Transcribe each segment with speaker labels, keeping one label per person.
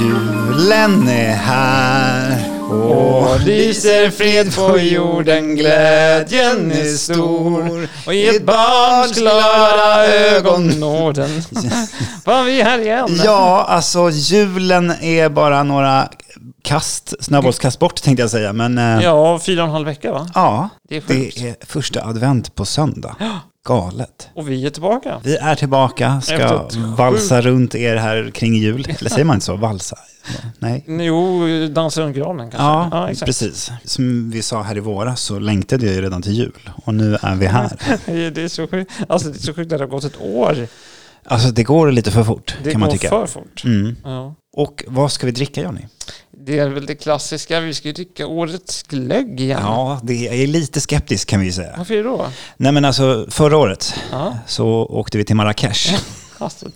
Speaker 1: Julen är här
Speaker 2: Och lyser fred på jorden, glädjen är stor Och i ett barns glada ögon når den Var vi här igen?
Speaker 1: Ja, alltså julen är bara några kast, snöbollskast bort tänkte jag säga. Men eh, ja,
Speaker 2: Ja, fyra och en halv vecka va? Det är sjukt.
Speaker 1: det är första advent på söndag. Galet.
Speaker 2: Och vi är tillbaka.
Speaker 1: Vi är tillbaka, ska
Speaker 2: Efter ett
Speaker 1: valsa runt er här kring jul. Eller säger man inte så? Valsa? Nej.
Speaker 2: Jo, dansa runt granen kanske?
Speaker 1: Ja, precis. Som vi sa här i våras så längtade jag ju redan till jul och nu är vi här.
Speaker 2: Det är så sjukt. Alltså det är så sjukt att det har gått ett år.
Speaker 1: Alltså det går lite för fort
Speaker 2: Det
Speaker 1: kan
Speaker 2: går
Speaker 1: man tycka.
Speaker 2: för fort.
Speaker 1: Mm.
Speaker 2: Ja.
Speaker 1: Och vad ska vi dricka Johnny?
Speaker 2: Det är väl det klassiska, vi ska ju dricka årets glögg igen.
Speaker 1: Ja, det jag är lite skeptisk kan vi säga.
Speaker 2: Varför är det då?
Speaker 1: Nej men alltså förra året
Speaker 2: Ja.
Speaker 1: så åkte vi till Marrakesh.
Speaker 2: Alltså,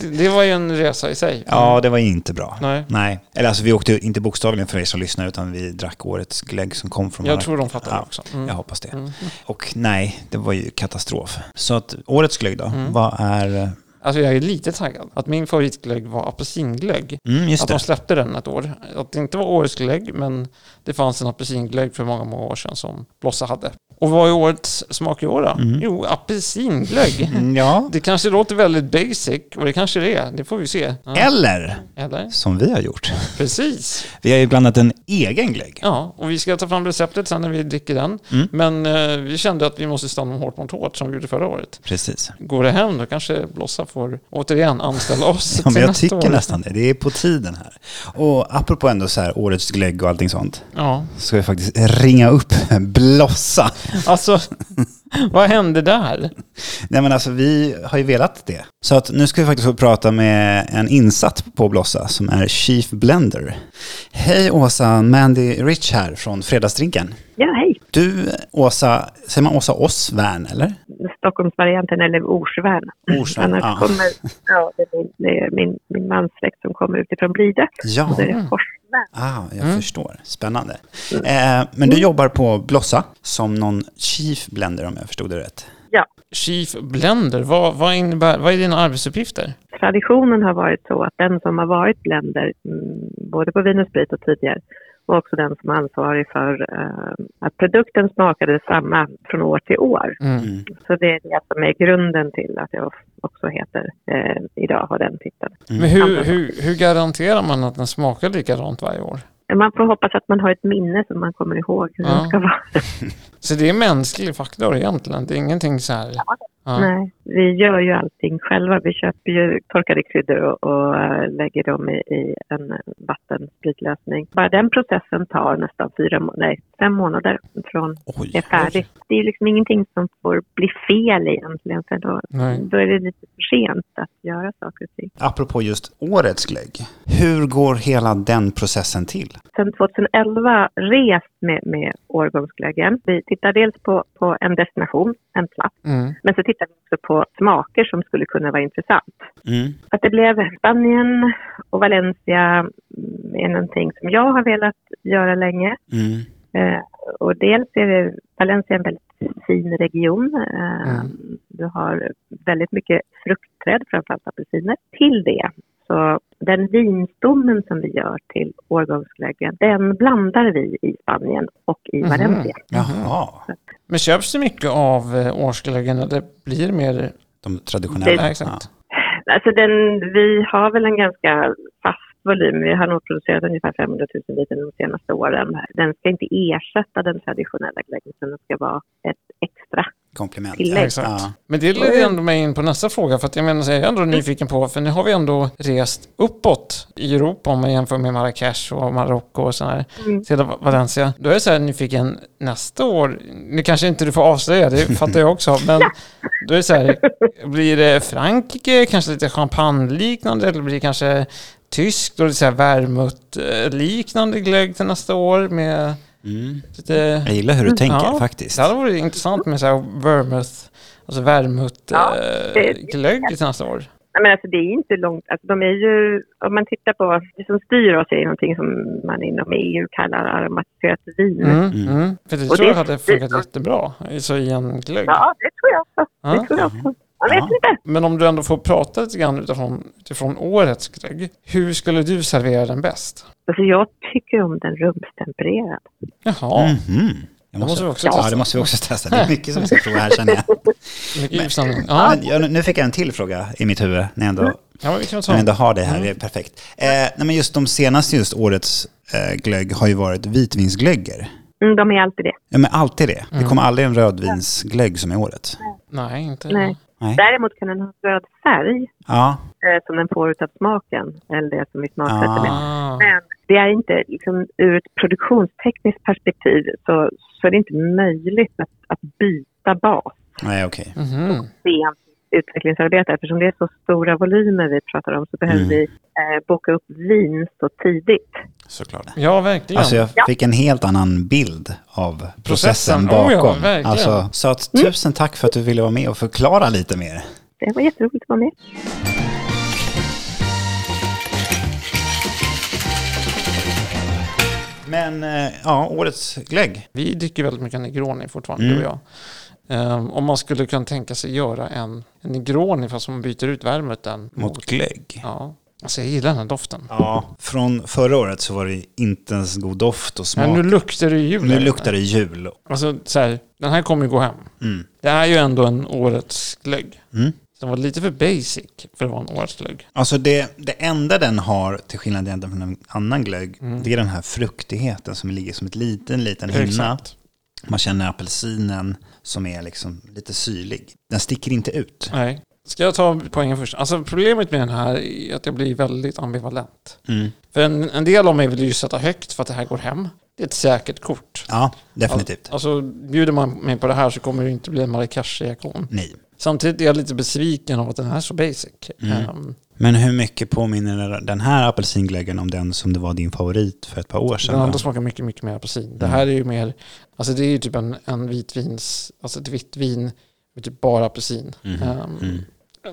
Speaker 2: det, det var ju en resa i sig.
Speaker 1: Ja, det var inte bra.
Speaker 2: Nej.
Speaker 1: Eller alltså vi åkte inte bokstavligen för er som lyssnar utan vi drack årets glögg som kom från
Speaker 2: Jag
Speaker 1: Marrakesh.
Speaker 2: tror de fattar
Speaker 1: Ja.
Speaker 2: det också. Mm.
Speaker 1: Jag hoppas det. Och nej, det var ju katastrof. Så att årets glögg då,
Speaker 2: Mm.
Speaker 1: vad är...
Speaker 2: Alltså jag är lite taggad. Att min favoritglögg var apelsinglögg.
Speaker 1: Mm, just
Speaker 2: Att de
Speaker 1: det.
Speaker 2: släppte den ett år. Att det inte var årets glögg, men det fanns en apelsinglögg för många, många år sedan som Blossa hade. Och vad är årets smak i år då? Jo, apelsinglögg.
Speaker 1: Mm, Ja.
Speaker 2: Det kanske låter väldigt basic, och det kanske det är. Det får vi se. Ja.
Speaker 1: Eller,
Speaker 2: Eller?
Speaker 1: som vi har gjort,
Speaker 2: Precis.
Speaker 1: vi har ju blandat en egen glögg.
Speaker 2: Ja, och vi ska ta fram receptet sen när vi dricker den.
Speaker 1: Mm.
Speaker 2: Men eh, vi kände att vi måste stanna hårt mot hårt som vi gjorde förra året.
Speaker 1: Precis.
Speaker 2: Går det hem då kanske Blossa får återigen anställa oss
Speaker 1: Ja, men
Speaker 2: till
Speaker 1: jag
Speaker 2: nästa
Speaker 1: tycker
Speaker 2: år.
Speaker 1: nästan det. Det är på tiden här. Och apropå ändå så här, årets glögg och allting sånt.
Speaker 2: Ja,
Speaker 1: Ska vi faktiskt ringa upp Blossa.
Speaker 2: alltså vad hände där?
Speaker 1: Nej men alltså vi har ju velat det. Så att nu ska vi faktiskt få prata med en insatt på Blossa som är Chief Blender. Hej Åsa, Mandy Rich här från Fredagsdrinken.
Speaker 3: Ja, hej.
Speaker 1: Du Åsa, säger man Åsa Osvärn eller?
Speaker 3: Stockholmsvarianten eller Orsvärn.
Speaker 1: Orsvärn,
Speaker 3: Annars
Speaker 1: ja.
Speaker 3: kommer, ja, det är, min, det är min, min mans släkt som kommer utifrån Blide.
Speaker 1: Ja,
Speaker 3: Så är det Forsvärn.
Speaker 1: ah, jag
Speaker 2: Mm.
Speaker 1: förstår. Spännande. Eh, men du jobbar på Blossa som någon Chief Blender om jag förstod det rätt.
Speaker 3: Ja,
Speaker 2: Chief Blender, vad, vad, innebär, vad är dina arbetsuppgifter?
Speaker 3: traditionen har varit så att den som har varit länder, mm, både på Vin och Sprit och tidigare, och också den som är ansvarig för eh, att produkten smakade samma från år till år.
Speaker 2: Mm.
Speaker 3: Så det är det som är grunden till att jag också heter, eh, idag har den titeln.
Speaker 2: Men hur, hur, hur garanterar man att den smakar likadant varje år?
Speaker 3: Man får hoppas att man har ett minne som man kommer ihåg hur
Speaker 2: Ja.
Speaker 3: den ska vara.
Speaker 2: Så det är mänsklig faktor egentligen, det är ingenting så här... Ja.
Speaker 3: Nej, vi gör ju allting själva. Vi köper ju torkade kryddor och, och eh, lägger dem i, i en vattenspritlösning. Bara den processen tar nästan fyra må- nej, fem månader från
Speaker 1: Oj.
Speaker 3: det är färdigt. Det är ju liksom ingenting som får bli fel egentligen, för då,
Speaker 2: Nej.
Speaker 3: då är det lite för sent att göra saker och ting.
Speaker 1: Apropå just årets glögg, hur går hela den processen till?
Speaker 3: sedan 2011 rest med, med årgångsglöggen. Vi tittar dels på, på en destination, en plats,
Speaker 2: Mm.
Speaker 3: men så tittar vi också på smaker som skulle kunna vara intressant.
Speaker 1: Mm.
Speaker 3: Att det blev Spanien och Valencia mm, är någonting som jag har velat göra länge.
Speaker 1: Mm.
Speaker 3: Eh, och dels är det, Valencia är en väldigt fin region. Eh,
Speaker 2: Mm.
Speaker 3: Du har väldigt mycket fruktträd, framförallt apelsiner. Till det, så den vinstommen som vi gör till årgångsglöggen, den blandar vi i Spanien och i
Speaker 2: Mhm.
Speaker 3: Valencia.
Speaker 1: Jaha,
Speaker 2: Men köps det mycket av eh, årsglöggen eller blir det mer...
Speaker 1: de traditionella.
Speaker 2: Ja, exakt.
Speaker 3: Alltså den, vi har väl en ganska fast volym. Vi har nog producerat ungefär 500 000 liter de senaste åren. Den ska inte ersätta den traditionella glöggen, utan den ska vara ett extra.
Speaker 1: Ja, komplement.
Speaker 3: Tillägg.
Speaker 2: Ja, exakt.
Speaker 1: Ja.
Speaker 2: Men det leder ju ändå mig in på nästa fråga, för att jag menar, så är jag ändå nyfiken på, för nu har vi ändå rest uppåt i Europa om man jämför med Marrakesh och Marocko och sådär, till Valencia. Då är jag så här nyfiken, nästa år, nu kanske inte du får avslöja, det fattar jag också, men då är det så här, blir det Frankrike, kanske lite champagne-liknande, eller blir det kanske tyskt och lite så här vermouth-liknande glögg till nästa år med lite...
Speaker 1: mm. Jag gillar hur du tänker
Speaker 2: Mm. Ja,
Speaker 1: faktiskt.
Speaker 2: Det hade varit intressant med så här vermouth, alltså eh,
Speaker 3: Ja, det-
Speaker 2: vermouth-glögg till nästa år.
Speaker 3: Nej, men alltså det är inte långt, alltså de är ju, om man tittar på, det som styr oss är ju någonting som man inom EU kallar aromatiserat vin.
Speaker 2: Mm, mm. För det
Speaker 3: Och
Speaker 2: tror
Speaker 3: det-
Speaker 2: jag hade funkat jättebra, så i en glögg.
Speaker 3: Ja, det tror jag också.
Speaker 2: Ja.
Speaker 3: Det tror jag också. Man vet
Speaker 1: Ja.
Speaker 3: inte.
Speaker 2: Men om du ändå får prata lite grann utifrån, utifrån årets glögg. Hur skulle du servera den bäst?
Speaker 3: Alltså jag tycker om den rumstempererad.
Speaker 2: Jaha,
Speaker 1: Mhm. Jag
Speaker 2: måste vi också
Speaker 1: ja,
Speaker 2: testa.
Speaker 1: det måste vi också testa. Det är mycket som vi ska prova här känner jag.
Speaker 2: mycket ljusanvändning. Ja,
Speaker 1: Men, jag. Nu fick jag en till fråga i mitt huvud när jag ändå,
Speaker 3: Mm.
Speaker 1: när
Speaker 2: ja, men vi kan väl
Speaker 1: jag ändå
Speaker 2: ta. Mm.
Speaker 1: har det här. Det är perfekt. Eh, nej, men just de senaste just årets eh, glögg har ju varit vitvinsglöggar.
Speaker 3: Mm, de är alltid det.
Speaker 1: Ja, men alltid det.
Speaker 2: Mm.
Speaker 1: Det kommer aldrig en rödvinsglögg som är året.
Speaker 2: Nej, inte.
Speaker 3: Nej.
Speaker 1: Nej.
Speaker 3: Däremot kan den ha röd färg
Speaker 1: Ja,
Speaker 3: eh, som den får utav smaken. Eller det som vi smaksätter med.
Speaker 2: Ah,
Speaker 3: Men det är inte, liksom, ur ett produktionstekniskt perspektiv så, så är det inte möjligt att, att byta bas
Speaker 1: nej okej.
Speaker 2: mhm.
Speaker 3: sent utvecklingsarbete. Eftersom det är så stora volymer vi pratar om så behöver
Speaker 1: Mm.
Speaker 3: vi eh, boka upp vin så tidigt.
Speaker 1: Såklart.
Speaker 2: Ja, verkligen.
Speaker 1: Alltså jag fick en helt annan bild av processen
Speaker 2: Processen. Oh ja,
Speaker 1: bakom.
Speaker 2: verkligen. Mm.
Speaker 1: alltså, så att, tusen tack för att du ville vara med och förklara lite mer.
Speaker 3: Det var jätteroligt att vara med.
Speaker 1: Men eh, ja, årets glögg.
Speaker 2: Vi dricker väldigt mycket Negroni fortfarande,
Speaker 1: Mm.
Speaker 2: du och jag. Ehm, om man skulle kunna tänka sig göra en, en Negroni fast man byter ut värmeten
Speaker 1: Mot glögg.
Speaker 2: Ja, alltså jag gillar den här doften.
Speaker 1: Ja, från förra året så var det inte ens god doft och smak.
Speaker 2: Men nu luktar det ju jul.
Speaker 1: nu
Speaker 2: här
Speaker 1: luktar
Speaker 2: inne.
Speaker 1: det jul.
Speaker 2: Alltså så här, den här kommer ju gå hem.
Speaker 1: Mm.
Speaker 2: Det är ju ändå en årets glögg.
Speaker 1: Mm.
Speaker 2: Den var lite för basic för att vara en årets glögg.
Speaker 1: Alltså det, det enda den har, till skillnad egentligen från en annan glögg, det är den här fruktigheten som ligger som ett liten, liten hinna.
Speaker 2: Mm. Exakt.
Speaker 1: Man känner apelsinen som är liksom lite syrlig. Den sticker inte ut.
Speaker 2: Nej. Ska jag ta poängen först? Alltså problemet med den här är att jag blir väldigt ambivalent.
Speaker 1: Mm.
Speaker 2: För en, en del av mig vill ju sätta högt för att det här går hem. Det är ett säkert kort.
Speaker 1: Ja, definitivt.
Speaker 2: Alltså bjuder man mig på det här så kommer det inte bli en Marrakesh-reaktion.
Speaker 1: Nej.
Speaker 2: Samtidigt är jag lite besviken av att den här är så basic.
Speaker 1: Mm.
Speaker 2: Ehm,
Speaker 1: Men hur mycket påminner den här apelsinglöggen om den som det var din favorit för ett par år sedan?
Speaker 2: Den andra
Speaker 1: då?
Speaker 2: smakar mycket, mycket mer apelsin. Det
Speaker 1: Mm.
Speaker 2: här är ju mer, alltså det är ju typ en, en vitvins, alltså ett vitt vin med typ bara apelsin.
Speaker 1: Mm-hmm.
Speaker 2: Ehm,
Speaker 1: Mm.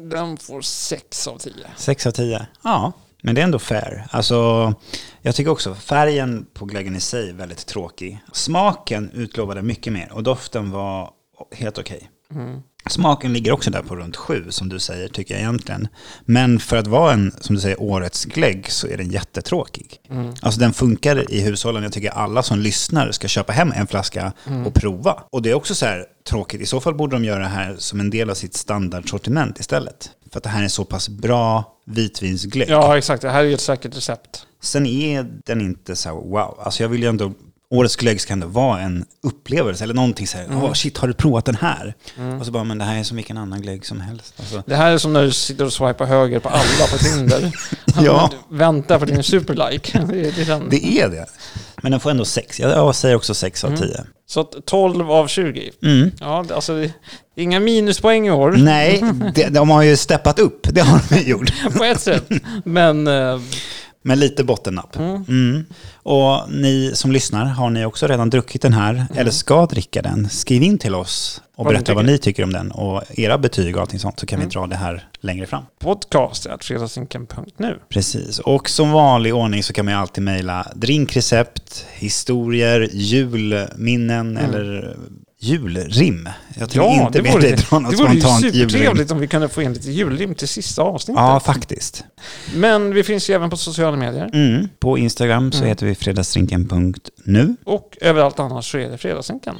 Speaker 2: Den får 6 av 10.
Speaker 1: Sex av tio. Ja, men det är ändå fair. Alltså, jag tycker också färgen på glöggen i sig är väldigt tråkig. Smaken utlovade mycket mer och doften var helt okej.
Speaker 2: Mm.
Speaker 1: Smaken ligger också där på runt sju som du säger, tycker jag egentligen. Men för att vara en, som du säger, årets glögg så är den jättetråkig. Alltså den funkar i hushållen. Jag tycker alla som lyssnar ska köpa hem en flaska och prova. Och det är också så här tråkigt. I så fall borde de göra det här som en del av sitt standardsortiment istället. För att det här är så pass bra vitvinsglögg.
Speaker 2: Ja, exakt. Det här är ju ett säkert recept.
Speaker 1: Sen är den inte så här, wow. Alltså jag vill ju ändå, årets glögg ska ändå vara en upplevelse eller någonting så här,
Speaker 2: Mm.
Speaker 1: "Åh, shit har du provat den här? Och så bara, men det här är som vilken annan glögg som helst. Alltså,
Speaker 2: Det här är som när du sitter och swipar höger på alla på Tinder.
Speaker 1: Ja.
Speaker 2: Du Väntar på din superlike. Det är, det är den.
Speaker 1: det är det. Men den får ändå sex. Jag, jag säger också sex
Speaker 2: Mm.
Speaker 1: av tio.
Speaker 2: Så att 12 av 20.
Speaker 1: Mm.
Speaker 2: Ja, det- alltså det är inga minuspoäng i år.
Speaker 1: Nej, de, de har ju steppat upp, det har de ju gjort.
Speaker 2: På ett sätt. Men eh,
Speaker 1: Men lite bottennapp. Mm. Och ni som lyssnar, har ni också redan druckit den här eller ska dricka den? Skriv in till oss och
Speaker 2: Mm. Vad
Speaker 1: berätta
Speaker 2: ni
Speaker 1: vad
Speaker 2: tycker. Mm.
Speaker 1: ni tycker om den och era betyg och allting sånt så kan vi dra det här längre fram.
Speaker 2: podcast är fredagsinken.nu.
Speaker 1: Precis, och som vanlig ordning så kan man ju alltid mejla drinkrecept, historier, julminnen eller julrim. Jag tror inte med dig dra något
Speaker 2: Mm. det vore ju
Speaker 1: spontant julrim.
Speaker 2: supertrevligt om vi kunde få in lite julrim till sista avsnittet.
Speaker 1: Ja, faktiskt.
Speaker 2: Men vi finns ju även på sociala medier.
Speaker 1: Mm. På Instagram så heter vi fredagsdrinken.nu.
Speaker 2: Och överallt annars så är det Fredagsänkan.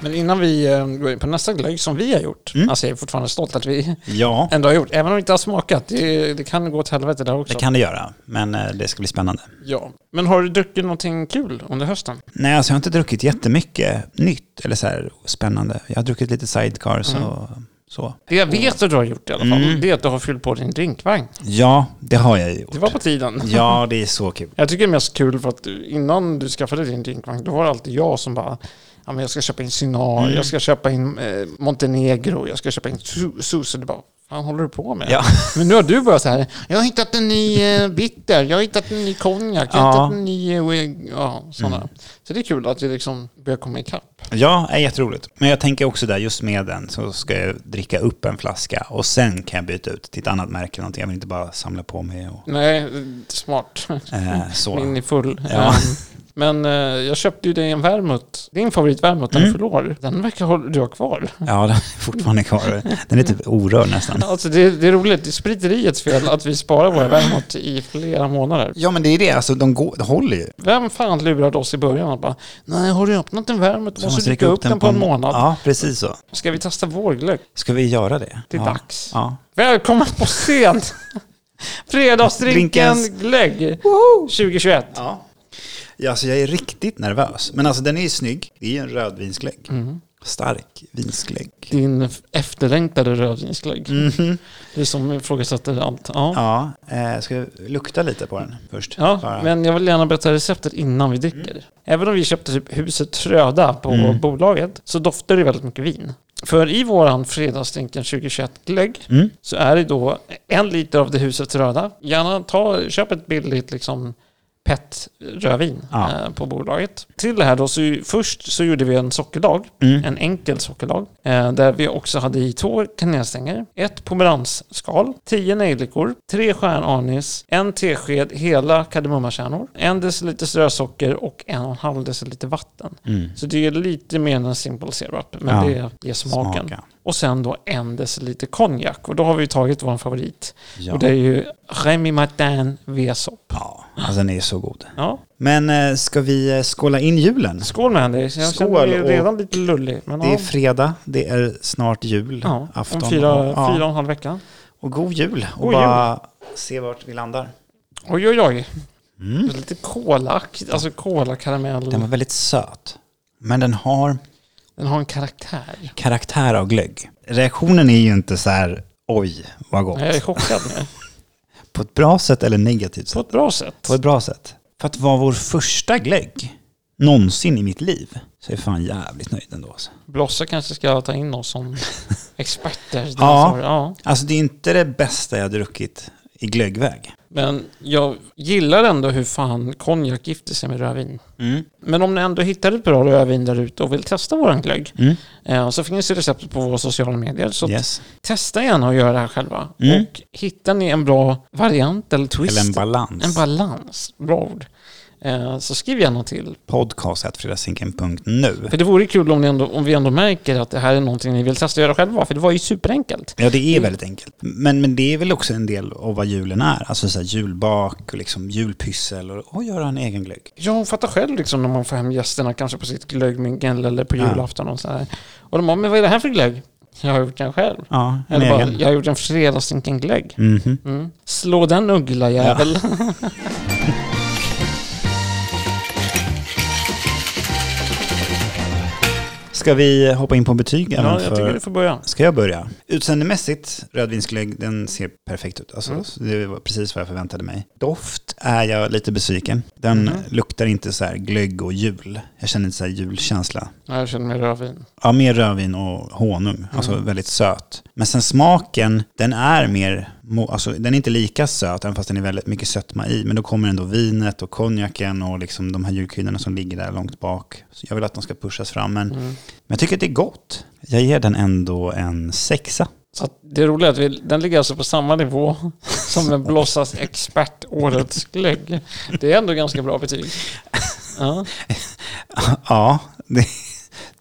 Speaker 2: Men innan vi eh, går in på nästa glögg som vi har gjort.
Speaker 1: Mm.
Speaker 2: Alltså jag är fortfarande stolt att vi
Speaker 1: Ja,
Speaker 2: ändå har gjort. Även om vi inte har smakat. Det, det kan gå åt helvete där också.
Speaker 1: det kan det göra, men eh, det ska bli spännande.
Speaker 2: Ja. Men har du druckit någonting kul under hösten?
Speaker 1: Nej, alltså jag har inte druckit jättemycket nytt eller så här spännande. Jag har druckit lite sidecars
Speaker 2: Mm.
Speaker 1: och så.
Speaker 2: Det jag
Speaker 1: Mm.
Speaker 2: vet att du har gjort i alla fall. Det är att du har fyllt på din drinkvagn.
Speaker 1: Ja, det har jag gjort.
Speaker 2: Det var på tiden.
Speaker 1: Ja, det är så kul.
Speaker 2: Jag tycker det är mest kul för att du- innan du skaffade din drinkvagn, då var det alltid jag som bara, ja men jag ska köpa in Cynar, jag
Speaker 1: Mm.
Speaker 2: ska köpa in eh, Montenegro, jag ska köpa in Su- Su, så du bara, fan håller du på med?
Speaker 1: Ja.
Speaker 2: Men nu har du börjat så här, jag har hittat en ny eh, bitter, jag har hittat en ny konjak, jag har
Speaker 1: Ja. Mm.
Speaker 2: hittat en ny, eh, we- ja sådana. Så det är kul att det liksom börjar komma ikapp.
Speaker 1: Ja, är jätteroligt. Men jag tänker också där, just med den så ska jag dricka upp en flaska och sen kan jag byta ut till ett annat märke eller någonting. Jag vill inte bara samla på mig och
Speaker 2: Nej, smart.
Speaker 1: eh, så.
Speaker 2: Mm. Min är full.
Speaker 1: Ja.
Speaker 2: Ehm, Men eh, jag köpte ju dig en vermouth. Din favoritvärmut, den
Speaker 1: Mm.
Speaker 2: förlor. Den verkar ha- du ha kvar.
Speaker 1: Ja, den är fortfarande kvar. Den är typ orörd nästan.
Speaker 2: Alltså det, det är roligt, det är spriteriets fel att vi sparar våra vermouth i flera månader.
Speaker 1: Ja, men det är det. Alltså, de, går, de håller ju.
Speaker 2: Vem fan lurade oss i början och bara Nej, har du öppnat en vermouth måste du dricka upp den på en månad.
Speaker 1: Ja, precis så.
Speaker 2: Ska vi testa vårglögg?
Speaker 1: Ska vi göra det?
Speaker 2: Det är
Speaker 1: ja.
Speaker 2: dags.
Speaker 1: Ja.
Speaker 2: Välkommen på scen! Fredagsdrinken
Speaker 1: Drinkens-
Speaker 2: glögg 2021.
Speaker 1: Ja. ja, alltså jag är riktigt nervös. Men alltså den är ju snygg. Det är ju en rödvinsglögg.
Speaker 2: Mm.
Speaker 1: Stark vinsglögg.
Speaker 2: Din f- efterlängtade rödvinsglögg. Det är som ifrågasätter allt. Ja. Ja.
Speaker 1: Ja, eh, ska jag lukta lite på den först? Bara-
Speaker 2: men jag vill gärna berätta receptet innan vi dricker.
Speaker 1: Mm.
Speaker 2: Även om vi köpte typ huset Tröda på bolaget så doftar det väldigt mycket vin. För i våran fredagsdrinken 2021-glögg
Speaker 1: Mm.
Speaker 2: så är det då en liter av det huset röda. Gärna ta, köp ett billigt liksom pet rödvin
Speaker 1: Ja.
Speaker 2: eh, på bolaget. Till det här då, så ju, först så gjorde vi en sockerlag,
Speaker 1: Mm.
Speaker 2: en enkel sockerlag, eh, där vi också hade i två kanelstänger, ett pomeransskal, tio nejlikor, tre stjärnanis, en tesked hela kardemummakärnor, en deciliter strösocker och en och en halv deciliter vatten.
Speaker 1: Mm.
Speaker 2: Så det är lite mer än en simple syrup, men
Speaker 1: Ja.
Speaker 2: det ger smaken.
Speaker 1: Smaka.
Speaker 2: Och sen då en deciliter konjak. Och då har vi ju tagit vår favorit.
Speaker 1: Ja.
Speaker 2: Och det är ju Remy Martin V-sopp.
Speaker 1: ja, alltså den är så god.
Speaker 2: Ja,
Speaker 1: Men eh, ska vi eh, skåla in julen?
Speaker 2: skål med Henry. Jag
Speaker 1: Skål
Speaker 2: känner mig
Speaker 1: och-
Speaker 2: redan lite lullig. Men
Speaker 1: Det är
Speaker 2: ja,
Speaker 1: fredag, det är snart jul,
Speaker 2: ja,
Speaker 1: afton.
Speaker 2: om fyra,
Speaker 1: Ja.
Speaker 2: fyra och en halv vecka.
Speaker 1: Och god jul och
Speaker 2: God
Speaker 1: bara se vart vi landar.
Speaker 2: Oj, oj, oj.
Speaker 1: Mm.
Speaker 2: Lite kola, alltså kolakaramell.
Speaker 1: Den var väldigt söt. Men den har
Speaker 2: Den har en karaktär.
Speaker 1: karaktär av glögg. Reaktionen är ju inte så här oj vad gott.
Speaker 2: Jag är chockad nu.
Speaker 1: På ett bra sätt eller negativt
Speaker 2: På
Speaker 1: sätt?
Speaker 2: ett bra sätt.
Speaker 1: På ett bra sätt. För att vara vår första glögg någonsin i mitt liv så är jag fan jävligt nöjd ändå. Alltså.
Speaker 2: Blossa kanske ska ta in oss som experter.
Speaker 1: Ja.
Speaker 2: ja.
Speaker 1: alltså det är inte det bästa jag har druckit i glöggväg.
Speaker 2: Men jag gillar ändå hur fan konjak gifter sig med rödvin.
Speaker 1: Mm.
Speaker 2: Men om ni ändå hittar ett bra rödvin där ute och vill testa våran glögg
Speaker 1: Mm.
Speaker 2: eh, så finns det receptet på våra sociala medier. Så
Speaker 1: Yes.
Speaker 2: testa gärna och gör det här själva.
Speaker 1: Mm.
Speaker 2: Och hittar ni en bra variant eller twist,
Speaker 1: Eller en balans.
Speaker 2: en balans, bra ord, eh, så skriv gärna till.
Speaker 1: Podcast.fredagssinken.nu.
Speaker 2: För det vore kul om, ni ändå, om vi ändå märker att det här är någonting ni vill testa och göra själva, för det var ju superenkelt.
Speaker 1: Ja, det är väldigt enkelt. Men, men det är väl också en del av vad julen är. Alltså så här julbak och liksom julpyssel och, och göra en egen glögg.
Speaker 2: Ja, hon fattar själv liksom när man får hem gästerna kanske på sitt glöggmingel eller på
Speaker 1: Ja.
Speaker 2: julafton och sådär. Och de bara, men vad är det här för glögg? Jag har gjort den själv.
Speaker 1: Ja, en
Speaker 2: Eller bara,
Speaker 1: egen.
Speaker 2: jag har gjort en fredagsdrinken glögg.
Speaker 1: Mhm.
Speaker 2: Mm. Slå den uggla jävel.
Speaker 1: Ska vi hoppa in på
Speaker 2: Ja,
Speaker 1: betygen?
Speaker 2: jag
Speaker 1: för-
Speaker 2: tycker du får börja.
Speaker 1: Ska jag börja? Utseendemässigt, rödvinsglögg, den ser perfekt ut. Alltså,
Speaker 2: Mm.
Speaker 1: Det var precis vad jag förväntade mig. Doft är jag lite besviken. Den
Speaker 2: Mm.
Speaker 1: luktar inte så här glögg och jul. Jag känner inte så här julkänsla.
Speaker 2: Ja, jag känner mig rödvin.
Speaker 1: Ja, mer rödvin och honung. Alltså
Speaker 2: Mm.
Speaker 1: väldigt söt. Men sen smaken, den är mer, mo- alltså den är inte lika söt, även fast den är väldigt mycket sötma i. Men då kommer ändå vinet och konjaken och liksom de här julkryddorna som ligger där långt bak. Så jag vill att de ska pushas fram, men,
Speaker 2: Mm.
Speaker 1: men jag tycker att det är gott. Jag ger den ändå en sexa.
Speaker 2: Så att det roliga är att vi, den ligger alltså på samma nivå som en blossas expert årets glögg. Det är ändå ganska bra betyg. Ja.
Speaker 1: Ja, det,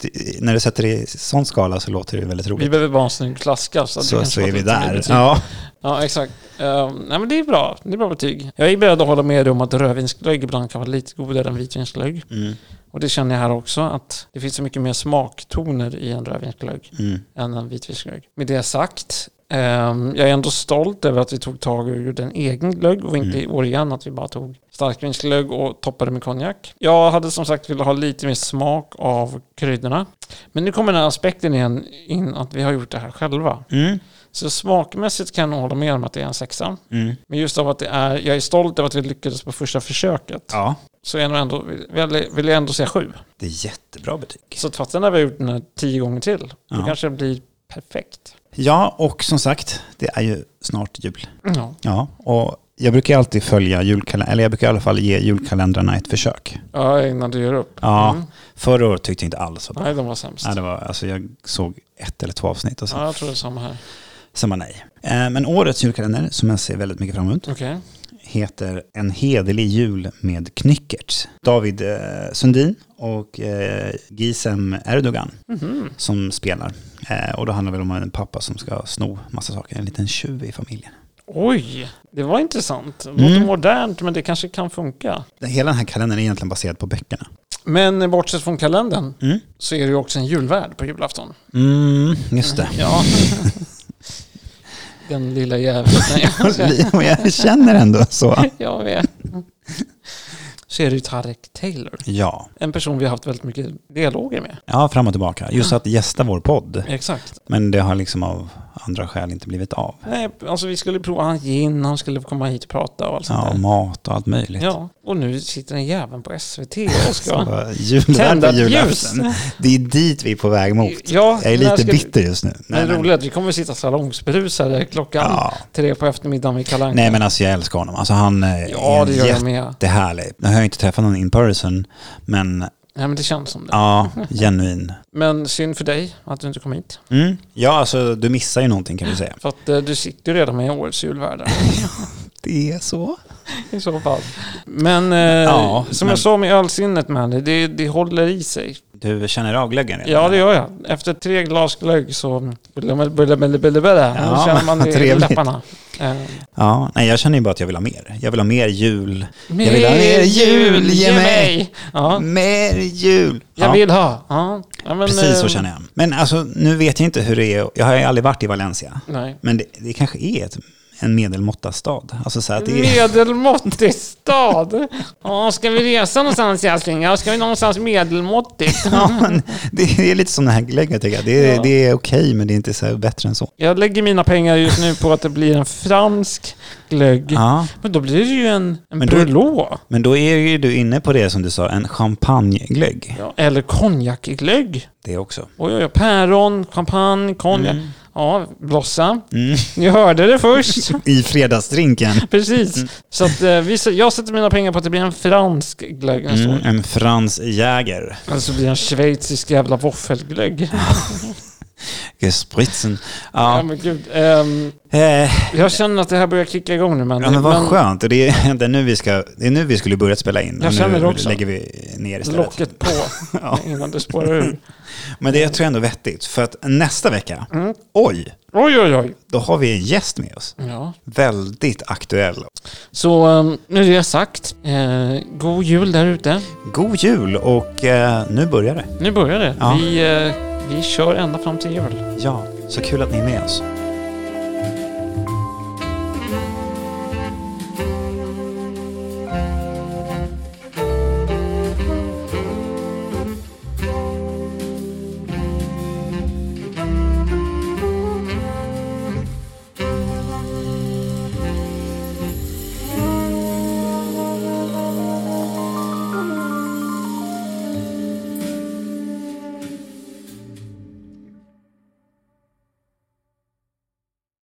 Speaker 1: det, när du sätter det i sån skala så låter det väldigt
Speaker 2: Vi
Speaker 1: roligt.
Speaker 2: behöver bara en snygg flaska. Så, att det
Speaker 1: Så,
Speaker 2: kanske
Speaker 1: så
Speaker 2: var
Speaker 1: är vi
Speaker 2: lite mer
Speaker 1: där.
Speaker 2: betyg.
Speaker 1: Ja.
Speaker 2: Ja, exakt. Ehm, nej, men det är bra. Det är bra betyg. Jag är beredd att hålla med dig om att rödvinsglögg ibland kan vara lite godare än vitvinsglögg.
Speaker 1: Mm,
Speaker 2: Och det känner jag här också, att det finns så mycket mer smaktoner i en rödvinsglögg
Speaker 1: mm.
Speaker 2: än en vitvinsglögg. Med det sagt, ehm, jag är ändå stolt över att vi tog tag och gjorde en egen glögg och inte i år igen att vi bara tog starkvinsglögg och toppade med konjak. Jag hade som sagt velat ha lite mer smak av kryddorna. Men nu kommer den här aspekten igen in att vi har gjort det här själva.
Speaker 1: Mm,
Speaker 2: Så smakmässigt kan jag nog hålla med om att det är en sexa.
Speaker 1: mm.
Speaker 2: Men just av att det är, jag är stolt över att vi lyckades på första försöket.
Speaker 1: Ja,
Speaker 2: Så jag nog ändå, vill, vill jag ändå säga sju.
Speaker 1: det är jättebra betyg.
Speaker 2: Så att fatta när vi har gjort den här tio gånger till. Då
Speaker 1: Ja.
Speaker 2: kanske det blir perfekt.
Speaker 1: Ja, och som sagt, det är ju snart jul.
Speaker 2: Ja.
Speaker 1: Ja, och jag brukar alltid följa julkalendern, eller jag brukar i alla fall ge julkalendrarna ett försök.
Speaker 2: ja, innan du gör upp.
Speaker 1: Ja,
Speaker 2: Mm.
Speaker 1: förra året tyckte jag inte alls var bra.
Speaker 2: Nej, den var sämst.
Speaker 1: Nej, det var, alltså jag såg ett eller två avsnitt och sen
Speaker 2: Ja, jag tror det är samma här.
Speaker 1: sa man nej. Eh, Men årets julkalender, som jag ser väldigt mycket fram emot,
Speaker 2: Okej.
Speaker 1: heter En hederlig jul med knyckert. David eh, Sundin och eh, Gizem Erdogan som spelar. Eh, och då handlar det väl om en pappa som ska sno massa saker, en liten tjuv i familjen.
Speaker 2: Oj, det var intressant. Det
Speaker 1: Mm.
Speaker 2: låter modernt, men det kanske kan funka.
Speaker 1: Den- Hela den här kalendern är egentligen baserad på böckerna.
Speaker 2: Men bortsett från kalendern
Speaker 1: Mm.
Speaker 2: så är det ju också en julvärd på julafton.
Speaker 1: Mm, just det.
Speaker 2: Ja. Den lilla jäveln. Nej,
Speaker 1: Och jag känner ändå så.
Speaker 2: jag vet. Så är det ju Tarek Taylor.
Speaker 1: Ja.
Speaker 2: En person vi har haft väldigt mycket dialoger med.
Speaker 1: ja, fram och tillbaka. Just att gästa vår podd.
Speaker 2: Exakt.
Speaker 1: Men det har liksom av andra skäl inte blivit av.
Speaker 2: Nej, alltså vi skulle prova hans gin, han skulle komma hit och prata och allt sånt
Speaker 1: Ja, och
Speaker 2: där.
Speaker 1: mat och allt möjligt.
Speaker 2: Ja, och nu sitter den jäveln på SVT och
Speaker 1: Så,
Speaker 2: ska...
Speaker 1: eh, Julvärd
Speaker 2: Tända
Speaker 1: på
Speaker 2: ett ljus.
Speaker 1: julafton. Det är dit vi är på väg mot.
Speaker 2: Ja,
Speaker 1: Jag är
Speaker 2: när
Speaker 1: lite
Speaker 2: ska vi-
Speaker 1: bitter just nu.
Speaker 2: Men
Speaker 1: Nej,
Speaker 2: det
Speaker 1: men-
Speaker 2: roliga är att vi kommer sitta salongsberusade klockan
Speaker 1: Ja.
Speaker 2: tre på eftermiddagen vid Kalle Anka.
Speaker 1: Nej men alltså jag älskar honom. Alltså han eh,
Speaker 2: Ja,
Speaker 1: är
Speaker 2: det gör jag med.
Speaker 1: jättehärlig. Nu har jag inte träffat någon in person, men
Speaker 2: Nej, men det känns som det.
Speaker 1: ja, genuin.
Speaker 2: Men synd för dig att du inte kom hit.
Speaker 1: Mm. Ja, alltså du missar ju någonting kan du säga.
Speaker 2: För att eh, du sitter ju redan med årets julvärdar
Speaker 1: Det är så.
Speaker 2: i så fall. Men eh,
Speaker 1: Ja,
Speaker 2: som
Speaker 1: men-
Speaker 2: jag sa med ölsinnet man, det, det håller i sig.
Speaker 1: Du känner av glöggen redan?
Speaker 2: Ja, det gör jag. Efter tre glas glögg så bulle, bulle, bulle, bulle, bulle.
Speaker 1: Ja,
Speaker 2: känner man det i
Speaker 1: trevligt.
Speaker 2: läpparna. Eh,
Speaker 1: Ja, nej jag känner ju bara att jag vill ha mer. Jag vill ha mer jul.
Speaker 2: mer
Speaker 1: vill ha mer jul, ge mig.
Speaker 2: Ja,
Speaker 1: Mer jul!
Speaker 2: jag
Speaker 1: Ja,
Speaker 2: vill ha. Ja, ja, men, eh,
Speaker 1: Precis så känner jag. Men alltså nu vet jag inte hur det är. Jag har ju aldrig varit i Valencia.
Speaker 2: Nej.
Speaker 1: Men det, det kanske är ett, en medelmåtta stad. Alltså så här att det är...
Speaker 2: Medelmåttig stad. Ja, ska vi resa någonstans älskling? Ja, ska vi någonstans medelmåttigt?
Speaker 1: Ja, men det är lite som den här glöggen tycker jag. Det är,
Speaker 2: Ja.
Speaker 1: det är okej, men det är inte så här bättre än så.
Speaker 2: Jag lägger mina pengar just nu på att det blir en fransk glögg.
Speaker 1: Ja,
Speaker 2: Men då blir det ju en, en
Speaker 1: Men då-
Speaker 2: brulot.
Speaker 1: men då är ju du inne på det som du sa, en champagneglögg.
Speaker 2: Ja, eller konjakglögg.
Speaker 1: Det också.
Speaker 2: Oj, oj, oj. Päron, champagne, konjak. Ja, blossa.
Speaker 1: Mm.
Speaker 2: Ni hörde det först.
Speaker 1: I fredagsdrinken.
Speaker 2: Precis.
Speaker 1: Mm.
Speaker 2: Så att, eh, vi, s- jag sätter mina pengar på att det blir en fransk glögg nästa
Speaker 1: Mm,
Speaker 2: år.
Speaker 1: en Frans Jäger.
Speaker 2: Eller så blir det en schweizisk jävla våffelglögg.
Speaker 1: Spritzen.
Speaker 2: Ja.
Speaker 1: Ja.
Speaker 2: men gud. Ehm,
Speaker 1: Eh,
Speaker 2: jag känner att det här börjar kicka igång nu. Men,
Speaker 1: ja, men vad skönt. Och Det är, det, är nu vi ska, det är nu vi skulle börjat spela in.
Speaker 2: Jag
Speaker 1: och
Speaker 2: känner det
Speaker 1: nu
Speaker 2: också.
Speaker 1: lägger vi ner istället.
Speaker 2: Locket på
Speaker 1: Ja.
Speaker 2: innan det spårar ur.
Speaker 1: Men det tror jag ändå är vettigt. För att nästa vecka,
Speaker 2: Mm.
Speaker 1: oj,
Speaker 2: Oj, oj, oj.
Speaker 1: då har vi en gäst med oss.
Speaker 2: Ja.
Speaker 1: Väldigt aktuell.
Speaker 2: Så eh, nu är det sagt. Eh, god jul där ute.
Speaker 1: God jul och eh, nu börjar det.
Speaker 2: Nu börjar det.
Speaker 1: Ja.
Speaker 2: Vi, eh, vi kör ända fram till jul.
Speaker 1: Ja, så kul att ni är med oss.